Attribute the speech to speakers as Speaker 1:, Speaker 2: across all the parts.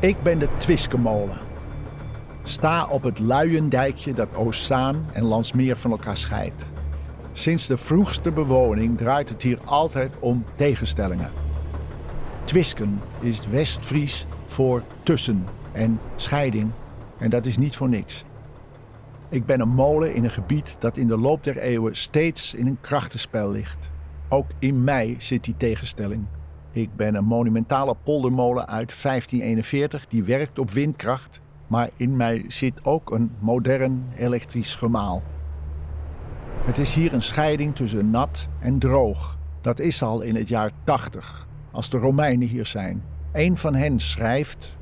Speaker 1: Ik ben de Twiskemolen. Sta op het luiendijkje dat Oostzaan en Landsmeer van elkaar scheidt. Sinds de vroegste bewoning draait het hier altijd om tegenstellingen. Twisken is West-Fries voor tussen en scheiding en dat is niet voor niks. Ik ben een molen in een gebied dat in de loop der eeuwen steeds in een krachtenspel ligt. Ook in mij zit die tegenstelling. Ik ben een monumentale poldermolen uit 1541 die werkt op windkracht, maar in mij zit ook een modern elektrisch gemaal. Het is hier een scheiding tussen nat en droog. Dat is al in het jaar 80, als de Romeinen hier zijn. Een van hen schrijft: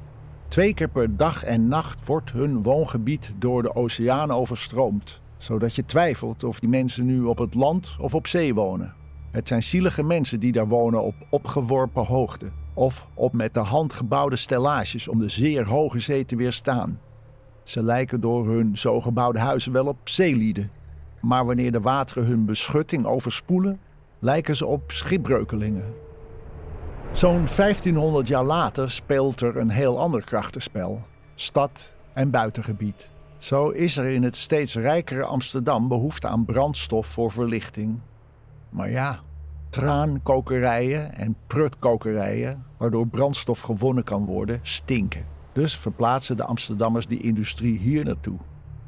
Speaker 1: Twee keer per dag en nacht wordt hun woongebied door de oceaan overstroomd, zodat je twijfelt of die mensen nu op het land of op zee wonen. Het zijn zielige mensen die daar wonen op opgeworpen hoogte of op met de hand gebouwde stellages om de zeer hoge zee te weerstaan. Ze lijken door hun zo gebouwde huizen wel op zeelieden. Maar wanneer de wateren hun beschutting overspoelen, lijken ze op schipbreukelingen. Zo'n 1500 jaar later speelt er een heel ander krachtenspel: stad en buitengebied. Zo is er in het steeds rijkere Amsterdam behoefte aan brandstof voor verlichting. Maar ja, traankokerijen en prutkokerijen, waardoor brandstof gewonnen kan worden, stinken. Dus verplaatsen de Amsterdammers die industrie hier naartoe.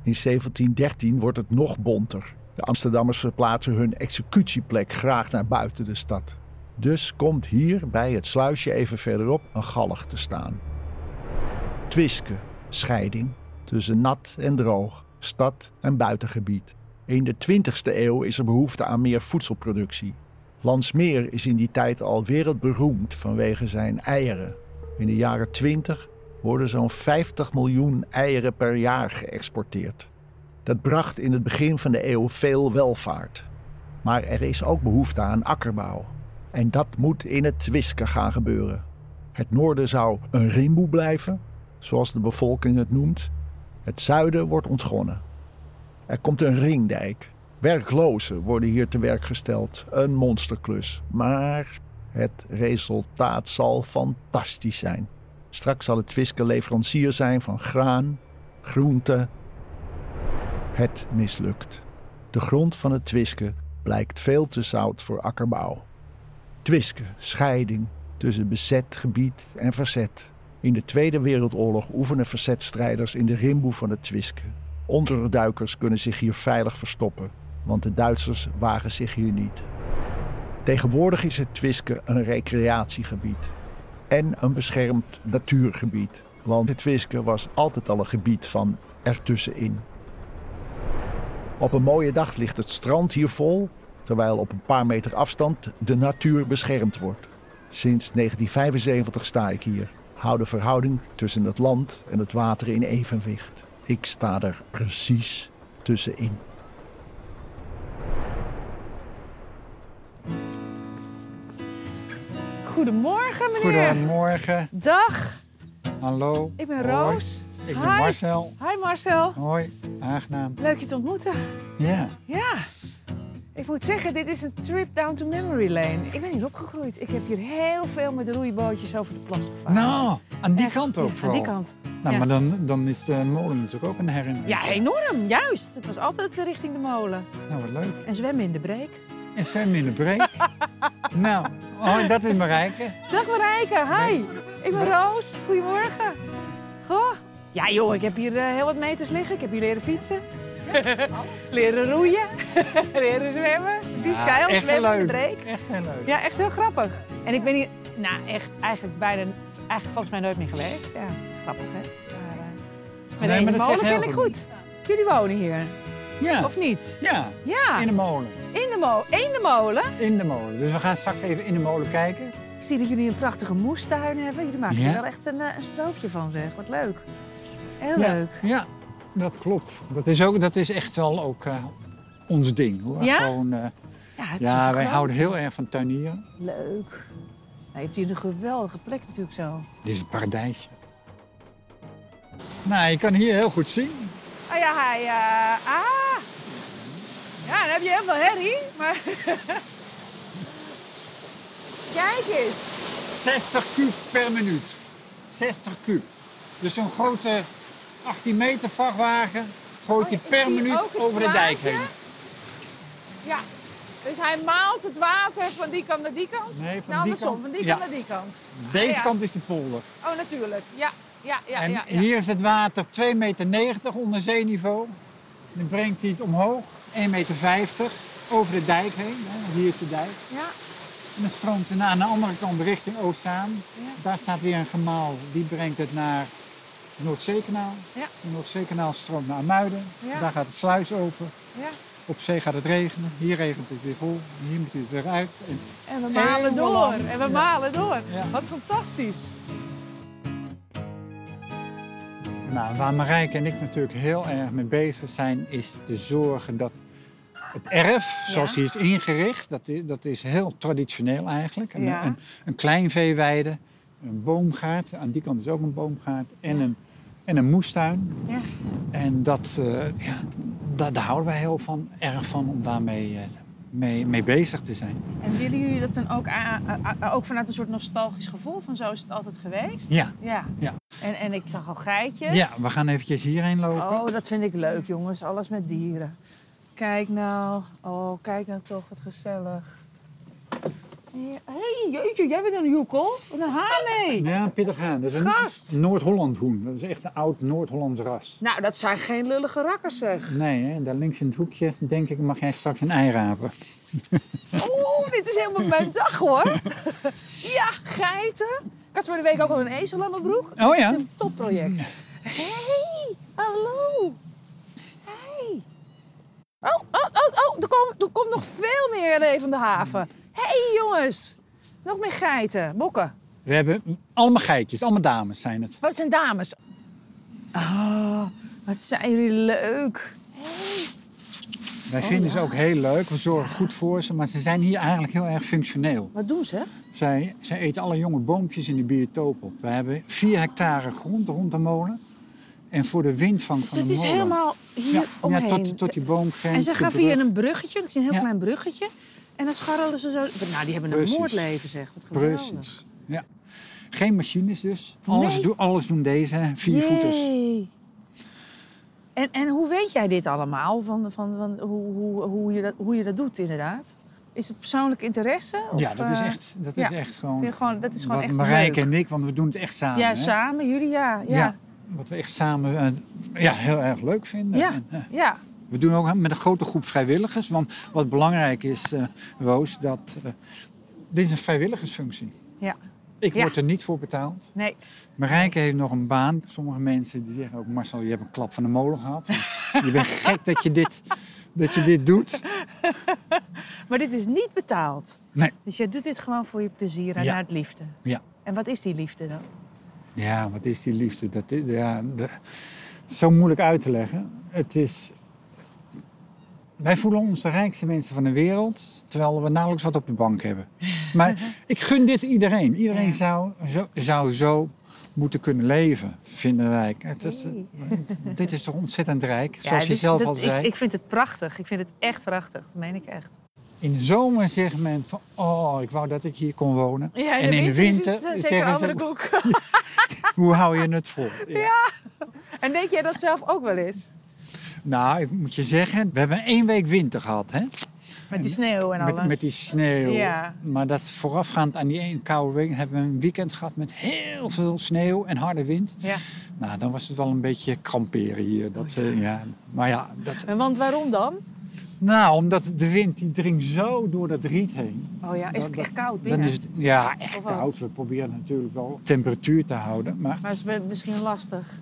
Speaker 1: In 1713 wordt het nog bonter. De Amsterdammers verplaatsen hun executieplek graag naar buiten de stad. Dus komt hier bij het sluisje even verderop een gallig te staan. Twisken, scheiding tussen nat en droog, stad en buitengebied. In de 20e eeuw is er behoefte aan meer voedselproductie. Landsmeer is in die tijd al wereldberoemd vanwege zijn eieren. In de jaren 20 worden zo'n 50 miljoen eieren per jaar geëxporteerd. Dat bracht in het begin van de eeuw veel welvaart. Maar er is ook behoefte aan akkerbouw. En dat moet in het Twiske gaan gebeuren. Het noorden zou een rimboe blijven, zoals de bevolking het noemt. Het zuiden wordt ontgonnen. Er komt een ringdijk. Werklozen worden hier te werk gesteld. Een monsterklus. Maar het resultaat zal fantastisch zijn. Straks zal het Twiske leverancier zijn van graan, groenten. Het mislukt. De grond van het Twiske blijkt veel te zout voor akkerbouw. Twiske, scheiding tussen bezet gebied en verzet. In de Tweede Wereldoorlog oefenen verzetstrijders in de rimboe van het Twiske. Onderduikers kunnen zich hier veilig verstoppen, want de Duitsers wagen zich hier niet. Tegenwoordig is het Twiske een recreatiegebied en een beschermd natuurgebied, want het Twiske was altijd al een gebied van ertussenin. Op een mooie dag ligt het strand hier vol, terwijl op een paar meter afstand de natuur beschermd wordt. Sinds 1975 sta ik hier. Hou de verhouding tussen het land en het water in evenwicht. Ik sta er precies tussenin.
Speaker 2: Goedemorgen, meneer.
Speaker 3: Goedemorgen,
Speaker 2: Dag,
Speaker 3: hallo.
Speaker 2: ik ben
Speaker 3: Hoi.
Speaker 2: Roos.
Speaker 3: Ik
Speaker 2: Hi.
Speaker 3: ben Marcel.
Speaker 2: Hi Marcel.
Speaker 3: Hoi, aangenaam.
Speaker 2: Leuk je te ontmoeten.
Speaker 3: Ja,
Speaker 2: Ja. Ik moet zeggen, dit is een trip down to memory lane. Ik ben hier opgegroeid. Ik heb hier heel veel met roeibootjes over de plas gevaren.
Speaker 3: nou, aan die
Speaker 2: Echt,
Speaker 3: kant
Speaker 2: ja,
Speaker 3: ook
Speaker 2: Aan
Speaker 3: vooral.
Speaker 2: die kant.
Speaker 3: Nou,
Speaker 2: ja.
Speaker 3: maar dan, dan is de molen natuurlijk ook een herinnering.
Speaker 2: Ja, enorm. Juist. Het was altijd eh, richting de molen.
Speaker 3: Nou, wat leuk.
Speaker 2: En zwemmen in de breek.
Speaker 3: En zwemmen in de breek. nou, oh, dat is Marijke.
Speaker 2: Dag Marijke. Hi. Ik ben Roos. Goedemorgen. Goh. Ja joh, ik heb hier eh, heel wat meters liggen. Ik heb hier leren fietsen. leren roeien. leren zwemmen. Precies,
Speaker 3: Ja,
Speaker 2: keil
Speaker 3: echt
Speaker 2: zwemmen in de
Speaker 3: leuk.
Speaker 2: breek.
Speaker 3: Echt heel leuk.
Speaker 2: Ja, echt heel grappig. En ik ben hier, nou echt, eigenlijk bijna, eigenlijk volgens mij nooit meer geweest. Ja, dat is grappig hè. Maar, eh, met
Speaker 3: Nee,
Speaker 2: één
Speaker 3: maar dat
Speaker 2: molen
Speaker 3: zegt heel
Speaker 2: vind ik
Speaker 3: veel
Speaker 2: goed. Jullie wonen hier,
Speaker 3: Ja,
Speaker 2: of Ah. niet?
Speaker 3: ja,
Speaker 2: Ja,
Speaker 3: in de molen.
Speaker 2: in de, mo in de molen.
Speaker 3: In de molen. Dus we gaan straks even in de molen kijken.
Speaker 2: Ik zie dat jullie een prachtige moestuin hebben. Jullie maken
Speaker 3: Ja.
Speaker 2: er wel echt een, eh, een sprookje van, zeg. Wat leuk. Heel
Speaker 3: Ja.
Speaker 2: leuk.
Speaker 3: Ja, dat klopt. Dat is, ook, dat is echt wel ook eh, ons ding. Hoor.
Speaker 2: Ja?
Speaker 3: Gewoon, eh,
Speaker 2: Ja, het is
Speaker 3: ja
Speaker 2: een
Speaker 3: wij
Speaker 2: groot-
Speaker 3: houden heel erg van tuinieren.
Speaker 2: Leuk. Nou, je hebt hier een geweldige plek natuurlijk zo.
Speaker 3: Dit is een paradijsje. Nou, je kan hier heel goed zien.
Speaker 2: Ah ja, hij... eh, ah! Ja, dan heb je heel veel herrie, maar... Kijk eens.
Speaker 3: 60 kub per minuut. 60 kub. Dus zo'n grote 18 meter vrachtwagen gooit
Speaker 2: Oh,
Speaker 3: die
Speaker 2: ik
Speaker 3: per
Speaker 2: zie
Speaker 3: minuut
Speaker 2: ook het
Speaker 3: over de dijk
Speaker 2: plaatje.
Speaker 3: heen.
Speaker 2: Ja. Dus hij maalt het water van die kant naar die kant?
Speaker 3: Nee, van die
Speaker 2: nou, andersom,
Speaker 3: kant.
Speaker 2: van die
Speaker 3: Ja.
Speaker 2: kant naar die kant.
Speaker 3: Deze
Speaker 2: Ah, Ja.
Speaker 3: kant is de polder.
Speaker 2: Oh, natuurlijk. Ja, ja, ja.
Speaker 3: en
Speaker 2: ja, ja.
Speaker 3: hier is het water 2,90 meter onder zeeniveau. Dan brengt hij het omhoog, 1,50 meter over de dijk heen. hè, want Hier is de dijk.
Speaker 2: Ja.
Speaker 3: En dan stroomt hij naar- aan de andere kant richting Oostzaan.
Speaker 2: Ja.
Speaker 3: Daar staat weer een gemaal, die brengt het naar het Noordzeekanaal.
Speaker 2: Ja.
Speaker 3: Het Noordzeekanaal stroomt naar Muiden.
Speaker 2: Ja.
Speaker 3: Daar gaat de sluis open.
Speaker 2: ja.
Speaker 3: Op zee gaat het regenen. Hier regent het weer vol. Hier moet hij het weer uit. En
Speaker 2: En we malen door.
Speaker 3: Eeuwenlang.
Speaker 2: En we
Speaker 3: Ja.
Speaker 2: malen door.
Speaker 3: Ja.
Speaker 2: Wat fantastisch.
Speaker 3: Nou, waar Marijke en ik natuurlijk heel erg mee bezig zijn, is te zorgen dat het erf,
Speaker 2: Ja.
Speaker 3: zoals hier is ingericht, dat is, dat is heel traditioneel eigenlijk. Een,
Speaker 2: Ja.
Speaker 3: een, een klein veeweide, een boomgaard, aan die kant is ook een boomgaard, en, een, en een moestuin.
Speaker 2: Ja.
Speaker 3: En dat, eh, ja, daar, daar houden wij heel van, erg van om daarmee eh, mee, mee bezig te zijn.
Speaker 2: En willen jullie dat dan ook, a- a- a- ook vanuit een soort nostalgisch gevoel van zo is het altijd geweest?
Speaker 3: Ja,
Speaker 2: Ja.
Speaker 3: Ja.
Speaker 2: En, en ik zag al geitjes.
Speaker 3: ja we gaan eventjes hierheen lopen.
Speaker 2: Oh, dat vind ik leuk, jongens. Alles met dieren. Kijk nou. Oh, kijk nou toch. Wat gezellig. Hé, hey, jeetje, jij bent een joekel. Wat een haan, hé.
Speaker 3: Ja, pittig aan. Dat is een
Speaker 2: Gast.
Speaker 3: Noord-Holland hoen. Dat is echt een oud Noord-Hollands ras.
Speaker 2: Nou, dat zijn geen lullige rakkers, zeg.
Speaker 3: Nee, hè? daar links in het hoekje, denk ik, mag jij straks een ei rapen.
Speaker 2: Oeh, dit is helemaal mijn dag, hoor. Ja, geiten. Ik had voor de week ook al een ezel aan mijn broek.
Speaker 3: ja?
Speaker 2: Dat is een topproject. Hé, hey, hallo. Hey. Oh, oh, oh, oh, er komt er komt nog veel meer eh, van de haven. Hé, hey, jongens. Nog meer geiten, bokken.
Speaker 3: We hebben allemaal geitjes, allemaal dames zijn het.
Speaker 2: Oh, het zijn dames. Oh, wat zijn jullie leuk. Oh,
Speaker 3: Wij vinden ze ook heel leuk, we zorgen goed voor ze, maar ze zijn hier eigenlijk heel erg functioneel.
Speaker 2: Wat doen ze?
Speaker 3: Zij, zij eten alle jonge boompjes in de biotoop op. We hebben 4 hectare grond rond de molen en voor de windvang
Speaker 2: Dus
Speaker 3: van de
Speaker 2: het
Speaker 3: molen.
Speaker 2: is helemaal hier
Speaker 3: ja,
Speaker 2: omheen.
Speaker 3: Ja, tot, tot die boomgrens.
Speaker 2: En ze
Speaker 3: de
Speaker 2: gaan
Speaker 3: brug.
Speaker 2: via een bruggetje, want ik zie een heel
Speaker 3: Ja.
Speaker 2: klein bruggetje. En dan scharrelen ze zo. Nou, die hebben een
Speaker 3: Precies.
Speaker 2: moordleven, zeg. Wat geweldig.
Speaker 3: Precies, ja. Geen machines dus. Alles,
Speaker 2: Nee.
Speaker 3: doen, alles doen deze viervoeters.
Speaker 2: Jee. En, en hoe weet jij dit allemaal? Van, van, van hoe, hoe, hoe, je dat, hoe je dat doet, inderdaad? Is het persoonlijk interesse? Of,
Speaker 3: Ja, dat is
Speaker 2: eh,
Speaker 3: echt, dat
Speaker 2: ja.
Speaker 3: is echt gewoon...
Speaker 2: vind je gewoon dat is gewoon
Speaker 3: Wat
Speaker 2: echt
Speaker 3: Marijke
Speaker 2: leuk.
Speaker 3: en ik, want we doen het echt samen.
Speaker 2: Ja,
Speaker 3: hè?
Speaker 2: samen, jullie, ja. Ja, ja.
Speaker 3: Wat we echt samen eh, ja, heel erg leuk vinden.
Speaker 2: ja.
Speaker 3: En, eh, we doen ook met een grote groep vrijwilligers. Want wat belangrijk is, eh, Roos, dat eh, dit is een vrijwilligersfunctie.
Speaker 2: Ja.
Speaker 3: Ik
Speaker 2: Ja.
Speaker 3: word er niet voor betaald.
Speaker 2: Nee.
Speaker 3: Marijke heeft nog een baan. Sommige mensen die zeggen ook, Marcel, je hebt een klap van de molen gehad. je bent gek dat je dit, dat je dit doet.
Speaker 2: Maar dit is niet betaald.
Speaker 3: Nee,
Speaker 2: Dus jij doet dit gewoon voor je plezier en
Speaker 3: Ja.
Speaker 2: uit liefde.
Speaker 3: ja.
Speaker 2: En wat is die liefde dan?
Speaker 3: Ja, wat is die liefde? Dat is, ja, de- zo moeilijk uit te leggen. Het is... Wij voelen ons de rijkste mensen van de wereld, terwijl we nauwelijks wat op de bank hebben. Maar ik gun dit iedereen. Iedereen
Speaker 2: Ja.
Speaker 3: zou, zo, zou zo moeten kunnen leven, vinden wij. Het is, Dit is toch ontzettend rijk, zoals je
Speaker 2: dus
Speaker 3: zelf
Speaker 2: dat-
Speaker 3: al zei.
Speaker 2: Ik, ik vind het prachtig. Ik vind het echt prachtig. Dat meen ik echt.
Speaker 3: In de zomer zegt men van, oh, ik wou dat ik hier kon wonen.
Speaker 2: Ja,
Speaker 3: en in de winter
Speaker 2: is het, eh, zeker
Speaker 3: zeggen
Speaker 2: een
Speaker 3: ze,
Speaker 2: andere koek.
Speaker 3: hoe hou je het vol? Ja.
Speaker 2: en denk jij dat zelf ook wel eens?
Speaker 3: Nou, ik moet je zeggen, we hebben één week winter gehad, hè?
Speaker 2: Met die sneeuw en alles.
Speaker 3: Met, met die sneeuw.
Speaker 2: Ja.
Speaker 3: Maar dat voorafgaand aan die één koude week hebben we een weekend gehad met heel veel sneeuw en harde wind.
Speaker 2: Ja. Oh,
Speaker 3: Nou, dan was het wel een beetje kramperen hier. Dat, eh, ja. Maar ja, dat,
Speaker 2: En want waarom dan?
Speaker 3: nou, omdat de wind die dringt zo door dat riet heen.
Speaker 2: Oh ja, is het
Speaker 3: Dat-
Speaker 2: echt koud
Speaker 3: Dan
Speaker 2: binnen?
Speaker 3: is het, ja, echt
Speaker 2: Of wat?
Speaker 3: koud. We proberen natuurlijk wel temperatuur te houden. Maar,
Speaker 2: Maar is het misschien lastig.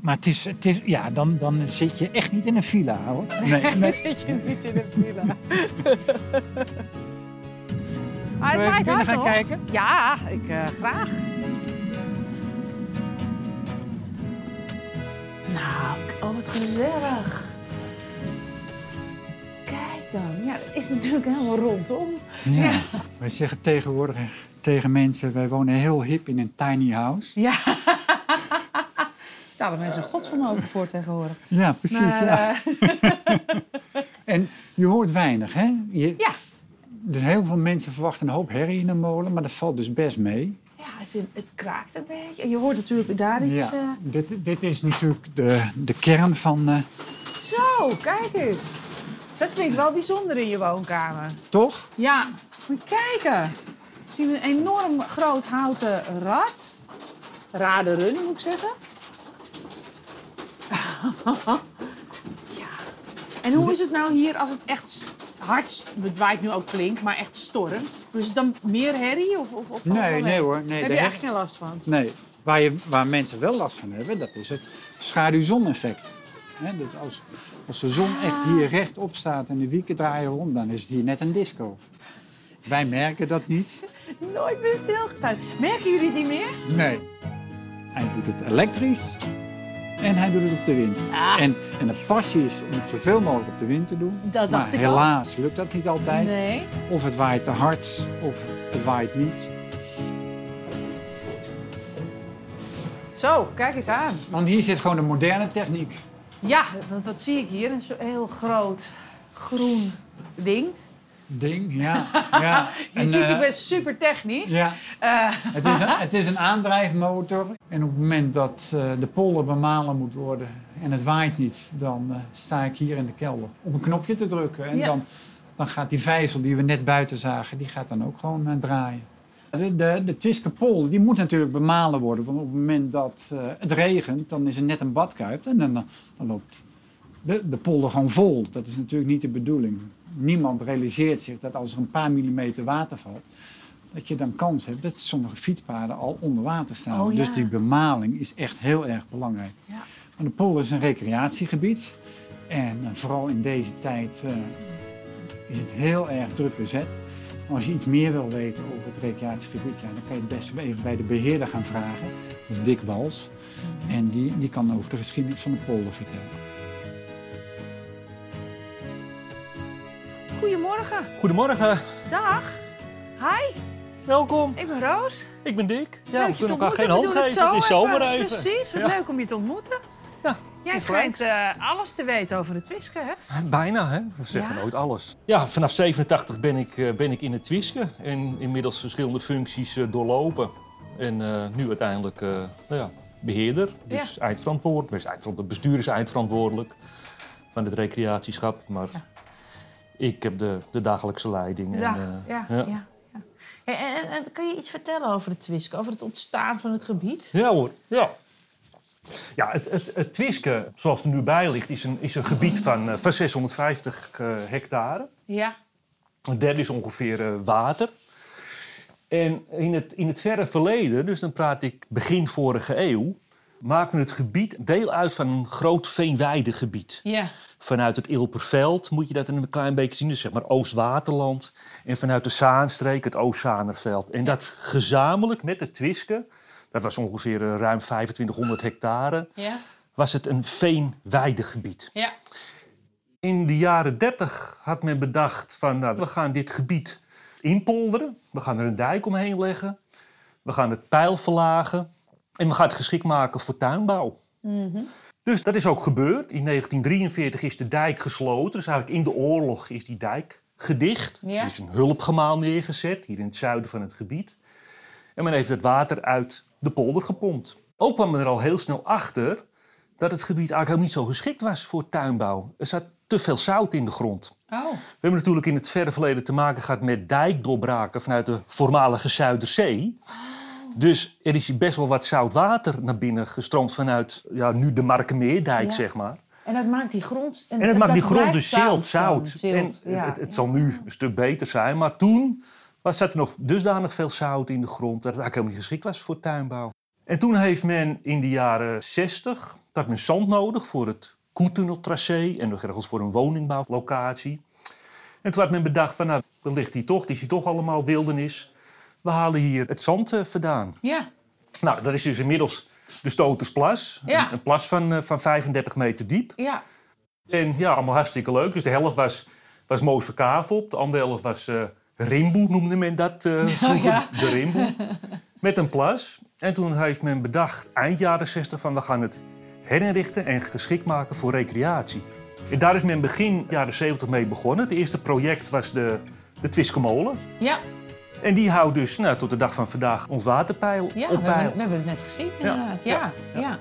Speaker 3: maar het is, het is, ja, dan, dan zit je echt niet in een villa hoor. Nee,
Speaker 2: Dan
Speaker 3: nee.
Speaker 2: zit je niet in de villa. ah, het
Speaker 3: we
Speaker 2: waait
Speaker 3: binnen
Speaker 2: hard
Speaker 3: gaan
Speaker 2: hoor.
Speaker 3: kijken?
Speaker 2: Ja, ik eh, graag. Nou, k- oh wat gezellig. Kijk dan. Ja, dat is natuurlijk helemaal rondom.
Speaker 3: Ja.
Speaker 2: Ja.
Speaker 3: Wij zeggen tegenwoordig eh, tegen mensen, wij wonen heel hip in een tiny house.
Speaker 2: Ja. Staan er mensen een godsvermogen voor tegenwoordig.
Speaker 3: Ja, precies.
Speaker 2: Maar,
Speaker 3: ja.
Speaker 2: eh,
Speaker 3: En je hoort weinig, hè? Je,
Speaker 2: ja.
Speaker 3: Dus heel veel mensen verwachten een hoop herrie in een molen, maar dat valt dus best mee.
Speaker 2: Ja. Ja, ze- het kraakt een beetje. En Je hoort natuurlijk daar iets...
Speaker 3: ja.
Speaker 2: eh,
Speaker 3: dit, dit is natuurlijk de, de kern van... eh,
Speaker 2: Zo, kijk eens. Dat vind ik wel bijzonder in je woonkamer.
Speaker 3: toch?
Speaker 2: Ja, moet je kijken. Zien we een enorm groot houten rad. Rade run, moet ik zeggen. ja. En hoe is het nou hier als het echt s- hard... s- Het waait nu ook flink, maar echt stormt. Is het dan meer herrie? Of, of, of
Speaker 3: Nee,
Speaker 2: of-
Speaker 3: nee hoor. Nee,
Speaker 2: Heb
Speaker 3: de
Speaker 2: je
Speaker 3: her-
Speaker 2: echt geen last van?
Speaker 3: Nee, waar, je, waar mensen wel last van hebben, dat is het schaduw-zon-effect. Hè, dus als, als de zon
Speaker 2: Ah.
Speaker 3: echt hier rechtop staat en de wieken draaien rond, dan is het hier net een disco. Wij merken dat niet.
Speaker 2: Nooit meer stilgestaan. Merken jullie het niet meer?
Speaker 3: Nee. Hij doet het elektrisch en hij doet het op de wind.
Speaker 2: Ah.
Speaker 3: En, en de passie is om het zoveel mogelijk op de wind te doen.
Speaker 2: Dat
Speaker 3: maar
Speaker 2: dacht ik al.
Speaker 3: helaas lukt dat niet altijd.
Speaker 2: Nee.
Speaker 3: Of het waait te hard, of het waait niet.
Speaker 2: Zo, kijk eens aan.
Speaker 3: Want hier zit gewoon een moderne techniek.
Speaker 2: Ja, want wat zie ik hier? Een zo heel groot groen ding.
Speaker 3: Ding, ja. ja.
Speaker 2: Je
Speaker 3: En,
Speaker 2: ziet,
Speaker 3: eh,
Speaker 2: ik ben super technisch.
Speaker 3: Ja,
Speaker 2: Eh,
Speaker 3: het is, een, het is een aandrijfmotor. En op het moment dat eh, de polder bemalen moet worden en het waait niet, dan eh, sta ik hier in de kelder op een knopje te drukken. En
Speaker 2: Ja.
Speaker 3: dan, dan gaat die vijzel die we net buiten zagen, die gaat dan ook gewoon eh, draaien. De, de, de Twiske Pol die moet natuurlijk bemalen worden. Want op het moment dat eh, het regent, dan is er net een badkuip. En dan, eh, dan loopt de, de polder gewoon vol. Dat is natuurlijk niet de bedoeling. Niemand realiseert zich dat als er een paar millimeter water valt, dat je dan kans hebt dat sommige fietspaden al onder water staan.
Speaker 2: Oh, ja.
Speaker 3: Dus die bemaling is echt heel erg belangrijk.
Speaker 2: Ja.
Speaker 3: Maar de polder is een recreatiegebied. En eh, vooral in deze tijd eh, is het heel erg druk bezet. Als je iets meer wil weten over het recreatiegebied, ja, dan kan je het best even bij de beheerder gaan vragen. Dat is Dick Wals.
Speaker 2: Mm.
Speaker 3: En die, die kan over de geschiedenis van de polder vertellen.
Speaker 2: Goedemorgen.
Speaker 4: Goedemorgen,
Speaker 2: Dag. Hi,
Speaker 4: welkom.
Speaker 2: ik ben Roos.
Speaker 4: Ik ben Dick. Ja,
Speaker 2: leuk
Speaker 4: we
Speaker 2: je te
Speaker 4: kunnen
Speaker 2: ontmoeten.
Speaker 4: elkaar geen
Speaker 2: We
Speaker 4: hand
Speaker 2: doen het
Speaker 4: geven.
Speaker 2: zo
Speaker 4: het is zomer
Speaker 2: even.
Speaker 4: even.
Speaker 2: Precies, wat
Speaker 4: Ja.
Speaker 2: leuk om je te ontmoeten.
Speaker 4: Ja,
Speaker 2: Jij schijnt eh, alles te weten over de Twiske, hè?
Speaker 4: Bijna, hè? We zeggen
Speaker 2: Ja?
Speaker 4: nooit alles. Ja, vanaf 87 ben ik, eh, ben ik in het Twiske en inmiddels verschillende functies eh, doorlopen. En eh, nu uiteindelijk eh, nou ja, beheerder, dus eindverantwoordelijk. Dus eindverantwoordelijk- Het bestuur is eindverantwoordelijk van het recreatieschap, maar ik heb de, de dagelijkse leiding.
Speaker 2: Dag.
Speaker 4: En, eh,
Speaker 2: ja, ja.
Speaker 4: ja.
Speaker 2: ja. Hey, en, en, en kun je iets vertellen over de Twiske, over het ontstaan van het gebied?
Speaker 4: Ja hoor, ja. Ja, het, het, het Twiske, zoals het er nu bij ligt, is een, is een gebied van, eh, van 650 eh, hectare.
Speaker 2: Ja.
Speaker 4: Een derde is ongeveer eh, water. En in het, in het verre verleden, dus dan praat ik begin vorige eeuw... maakte het gebied deel uit van een groot veenweidegebied.
Speaker 2: Ja.
Speaker 4: Vanuit het Ilperveld moet je dat een klein beetje zien, dus zeg maar Oost-Waterland. En vanuit de Zaanstreek het Oost-Zanerveld. En dat gezamenlijk met de Twiske, dat was ongeveer eh, ruim 2500 hectare,
Speaker 2: Ja.
Speaker 4: was het een veenweidegebied.
Speaker 2: Ja.
Speaker 4: In de jaren 30 had men bedacht van nou, we gaan dit gebied inpolderen. We gaan er een dijk omheen leggen. We gaan het pijl verlagen. En we gaan het geschikt maken voor tuinbouw. Dus dat is ook gebeurd. In 1943 is de dijk gesloten. Dus eigenlijk in de oorlog is die dijk gedicht.
Speaker 2: Ja.
Speaker 4: Er is een hulpgemaal neergezet, hier in het zuiden van het gebied. En men heeft het water uit de polder gepompt. Ook kwam men er al heel snel achter dat het gebied eigenlijk helemaal niet zo geschikt was voor tuinbouw. Er zat te veel zout in de grond.
Speaker 2: Oh.
Speaker 4: We hebben natuurlijk in het verre verleden te maken gehad met dijkdoorbraken vanuit de voormalige Zuiderzee. Dus er is hier best wel wat zout water naar binnen gestroomd vanuit ja, nu de Markenmeerdijk,
Speaker 2: Ja.
Speaker 4: zeg maar.
Speaker 2: En dat maakt die grond...
Speaker 4: En het maakt die grond
Speaker 2: blijft
Speaker 4: dus zeelt
Speaker 2: dan,
Speaker 4: zout.
Speaker 2: Zilt,
Speaker 4: en
Speaker 2: ja.
Speaker 4: het, het zal nu een stuk beter zijn, maar toen was, zat er nog dusdanig veel zout in de grond dat het eigenlijk helemaal niet geschikt was voor tuinbouw. En toen heeft men in de jaren 60 had men zand nodig voor het koentunneltracé en nog ergens voor een woningbouwlocatie. En toen had men bedacht van nou, dat ligt hier toch, het is hier toch allemaal wildernis. We halen hier het zand eh, vandaan.
Speaker 2: ja.
Speaker 4: Nou, dat is dus inmiddels de Stotersplas.
Speaker 2: Ja.
Speaker 4: Een, een plas van, eh, van 35 meter diep.
Speaker 2: Ja.
Speaker 4: En ja, allemaal hartstikke leuk. Dus de helft was, was mooi verkaveld. De andere helft was eh rimboe, noemde men dat eh, vroeger.
Speaker 2: ja.
Speaker 4: De rimboe. Met een plas. En toen heeft men bedacht, eind jaren 60, van we gaan het herinrichten en geschikt maken voor recreatie. En daar is men begin jaren 70 mee begonnen. Het eerste project was de, de Twiskemolen.
Speaker 2: Ja.
Speaker 4: En die houdt dus nou, tot de dag van vandaag ons waterpeil
Speaker 2: Ja, we
Speaker 4: op peil.
Speaker 2: hebben, we hebben het net gezien inderdaad. Ja, ja.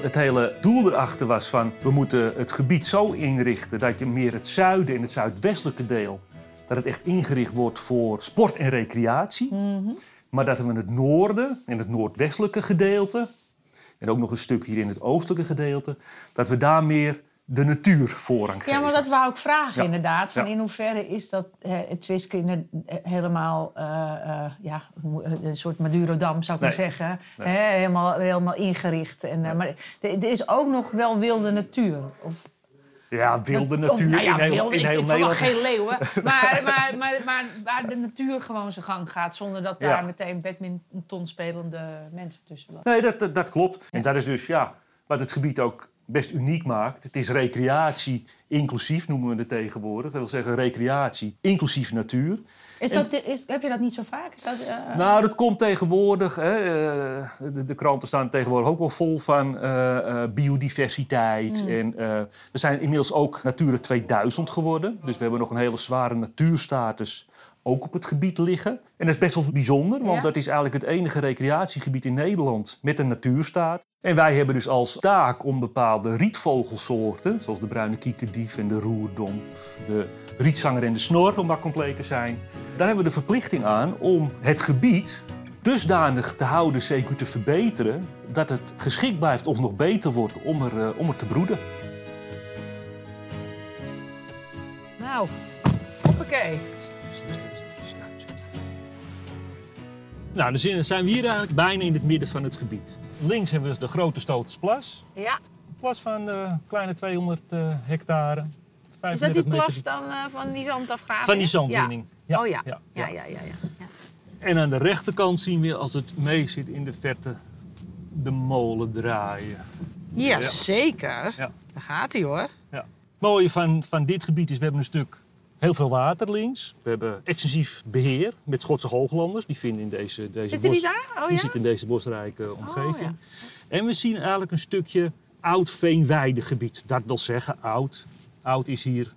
Speaker 4: Het hele doel erachter was van we moeten het gebied zo inrichten dat je meer het zuiden en het zuidwestelijke deel dat het echt ingericht wordt voor sport en recreatie.
Speaker 2: Mhm.
Speaker 4: Maar dat we het noorden en het noordwestelijke gedeelte en ook nog een stuk hier in het oostelijke gedeelte dat we daar meer de natuur voorrang geven.
Speaker 2: Ja, maar dat wou ik vragen
Speaker 4: Ja.
Speaker 2: inderdaad. Van
Speaker 4: Ja.
Speaker 2: In hoeverre is dat eh, het Twiske inder- eh, helemaal eh, eh, ja, hoe moet- eh, een soort Madurodam, zou ik
Speaker 4: Nee.
Speaker 2: maar zeggen. Hè, helemaal, helemaal ingericht. En, eh, maar er er is ook nog wel wilde natuur. Of,
Speaker 4: Ja, wilde
Speaker 2: dat- of,
Speaker 4: natuur
Speaker 2: nou ja,
Speaker 4: in heel,
Speaker 2: wilde,
Speaker 4: in
Speaker 2: ik-
Speaker 4: heel
Speaker 2: ik verwacht
Speaker 4: Nederland.
Speaker 2: geen leeuwen. Maar, maar, maar, maar waar de natuur gewoon zijn gang gaat... zonder dat daar
Speaker 4: Ja.
Speaker 2: meteen badminton spelende mensen tussen lopen.
Speaker 4: Nee, dat, dat, dat klopt. En dat is dus ja, wat het gebied ook best uniek maakt. Het is recreatie inclusief, noemen we het tegenwoordig. Dat wil zeggen recreatie inclusief natuur.
Speaker 2: Is dat, is, heb je dat niet zo vaak? Is dat, eh,
Speaker 4: Nou, dat komt tegenwoordig. Hè, eh, de, de kranten staan tegenwoordig ook wel vol van eh, eh, biodiversiteit. En eh, we zijn inmiddels ook Natura 2000 geworden. Dus we hebben nog een hele zware natuurstatus ook op het gebied liggen. En dat is best wel bijzonder, want
Speaker 2: Ja.
Speaker 4: dat is eigenlijk het enige recreatiegebied in Nederland met een natuurstaat. En wij hebben dus als taak om bepaalde rietvogelsoorten, zoals de bruine kiekendief en de roerdom, de rietzanger en de snor, om maar compleet te zijn, daar hebben we de verplichting aan om het gebied dusdanig te houden, zeker te verbeteren, dat het geschikt blijft of nog beter wordt om er, eh, om er te broeden.
Speaker 2: nou, hoppakee.
Speaker 4: Nou, dan zijn- zijn we hier eigenlijk bijna in het midden van het gebied. Links hebben we de grote Stootsplas.
Speaker 2: Ja,
Speaker 4: Een plas van eh, kleine 200 eh, hectare.
Speaker 2: is dat
Speaker 4: 35
Speaker 2: die
Speaker 4: meter
Speaker 2: plas dan eh, van die zandafgraving?
Speaker 4: Van die zandwinning.
Speaker 2: Ja. Oh ja.
Speaker 4: Ja,
Speaker 2: Ja,
Speaker 4: ja.
Speaker 2: ja, ja, ja.
Speaker 4: En aan de rechterkant zien we als het mee zit in de verte de molen draaien.
Speaker 2: Ja,
Speaker 4: Ja.
Speaker 2: zeker.
Speaker 4: Ja.
Speaker 2: Daar gaat hij hoor.
Speaker 4: Het mooie van, van dit gebied is, we hebben een stuk heel veel water links. We hebben extensief beheer met Schotse hooglanders. Die vinden in deze, deze
Speaker 2: Zitten die
Speaker 4: bos-
Speaker 2: daar? Oh
Speaker 4: Die
Speaker 2: ja? Oh,
Speaker 4: zitten in deze bosrijke omgeving.
Speaker 2: ja.
Speaker 4: En we zien eigenlijk een stukje oud veenweidegebied. Dat wil zeggen oud. Oud is hier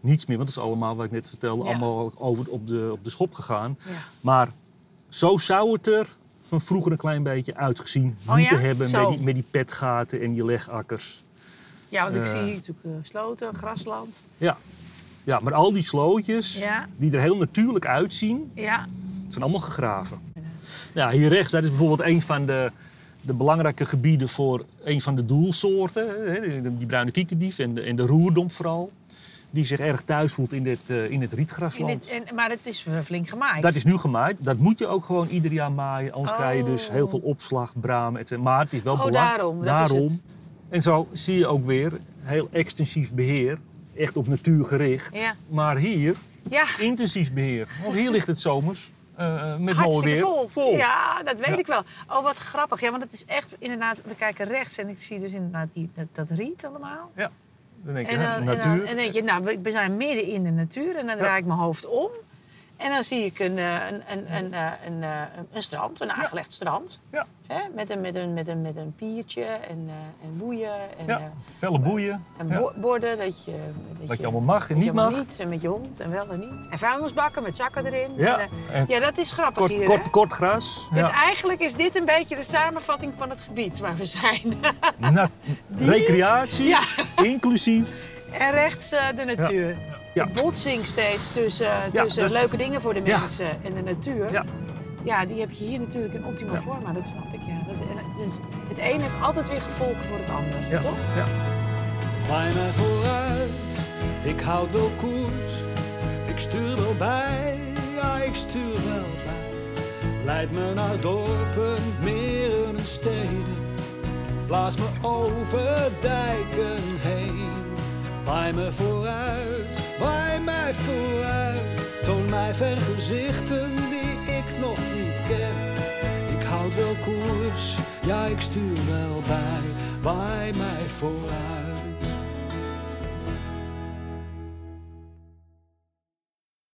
Speaker 4: niets meer, want dat is allemaal wat ik net vertelde,
Speaker 2: Ja.
Speaker 4: allemaal over, op, de, op de schop gegaan.
Speaker 2: Ja.
Speaker 4: Maar zo zou het er van vroeger een klein beetje uitgezien
Speaker 2: Oh
Speaker 4: moeten
Speaker 2: ja?
Speaker 4: hebben
Speaker 2: Zo.
Speaker 4: met die, met die petgaten en die legakkers.
Speaker 2: Ja, want ik
Speaker 4: Eh.
Speaker 2: zie hier natuurlijk eh, sloten, grasland.
Speaker 4: Ja. ja, maar al die slootjes
Speaker 2: Ja,
Speaker 4: die er heel natuurlijk uitzien,
Speaker 2: ja.
Speaker 4: zijn allemaal gegraven. Ja, hier rechts, dat is bijvoorbeeld een van de, de belangrijke gebieden voor een van de doelsoorten. hè, die- Die bruine kiekendief en de, en de roerdom vooral. Die zich erg thuis voelt in, dit, eh, in het
Speaker 2: In
Speaker 4: rietgrasland.
Speaker 2: dit, en, maar het is eh, flink gemaaid.
Speaker 4: Dat is nu gemaaid. Dat moet je ook gewoon ieder jaar maaien. Anders
Speaker 2: Oh.
Speaker 4: krijg je dus heel veel opslag, bramen, et cetera. Maar het is wel
Speaker 2: Oh,
Speaker 4: belangrijk.
Speaker 2: daarom, dat is het.
Speaker 4: En zo zie je ook weer heel extensief beheer. Echt op natuur gericht.
Speaker 2: Ja.
Speaker 4: Maar hier
Speaker 2: Ja,
Speaker 4: intensief beheer. Want hier ligt het zomers eh, met mooi
Speaker 2: hartstikke
Speaker 4: weer
Speaker 2: vol. Ja, dat weet
Speaker 4: Ja.
Speaker 2: ik wel. Oh, wat grappig. Ja, want het is echt inderdaad... We kijken rechts en ik zie dus inderdaad die, dat, dat riet allemaal.
Speaker 4: Dan denk je,
Speaker 2: En
Speaker 4: hè,
Speaker 2: dan, en dan-
Speaker 4: natuur.
Speaker 2: en dan denk je, nou, we- we zijn midden in de natuur. En dan draai ik mijn hoofd om. En dan zie ik een, eh, een, een, een, eh, een, eh, een, een strand, een aangelegd strand.
Speaker 4: Ja.
Speaker 2: Hè? Met, een, met, een, met, een, met een piertje en, eh, en boeien en,
Speaker 4: Ja.
Speaker 2: eh,
Speaker 4: Felle boeien.
Speaker 2: en
Speaker 4: Ja.
Speaker 2: bo- borden. Dat je, dat
Speaker 4: Wat je allemaal mag en
Speaker 2: dat je
Speaker 4: niet
Speaker 2: allemaal
Speaker 4: mag.
Speaker 2: niet, en met je hond en wel en niet. En vuilnisbakken met zakken erin. En,
Speaker 4: Ja.
Speaker 2: eh,
Speaker 4: En
Speaker 2: ja, dat is grappig
Speaker 4: kort,
Speaker 2: hier.
Speaker 4: kort,
Speaker 2: hè?
Speaker 4: kort gras.
Speaker 2: Dit-
Speaker 4: Ja.
Speaker 2: eigenlijk is dit een beetje de samenvatting van het gebied waar we zijn.
Speaker 4: Na- Recreatie.
Speaker 2: Ja.
Speaker 4: Inclusief.
Speaker 2: En rechts eh, de natuur.
Speaker 4: Ja.
Speaker 2: De botsing steeds tussen, eh,
Speaker 4: Ja,
Speaker 2: tussen
Speaker 4: dat is-
Speaker 2: leuke dingen voor de
Speaker 4: Ja.
Speaker 2: mensen en de natuur.
Speaker 4: Ja.
Speaker 2: Ja, die heb je hier natuurlijk in optima
Speaker 4: Ja.
Speaker 2: forma, dat snap ik. Ja. Dat is, en het, is- het een heeft altijd weer gevolgen voor het ander.
Speaker 4: Ja.
Speaker 2: toch?
Speaker 4: Ja.
Speaker 3: Bijna vooruit, ik houd wel koers. Ik stuur wel bij, ja ik stuur wel bij. Leid me naar dorpen, meren en steden. Blaas me over dijken heen. Waai me vooruit, waai mij vooruit. Toon mij vergezichten die ik nog niet ken. Ik houd wel koers, ja ik stuur wel bij. Waai mij vooruit.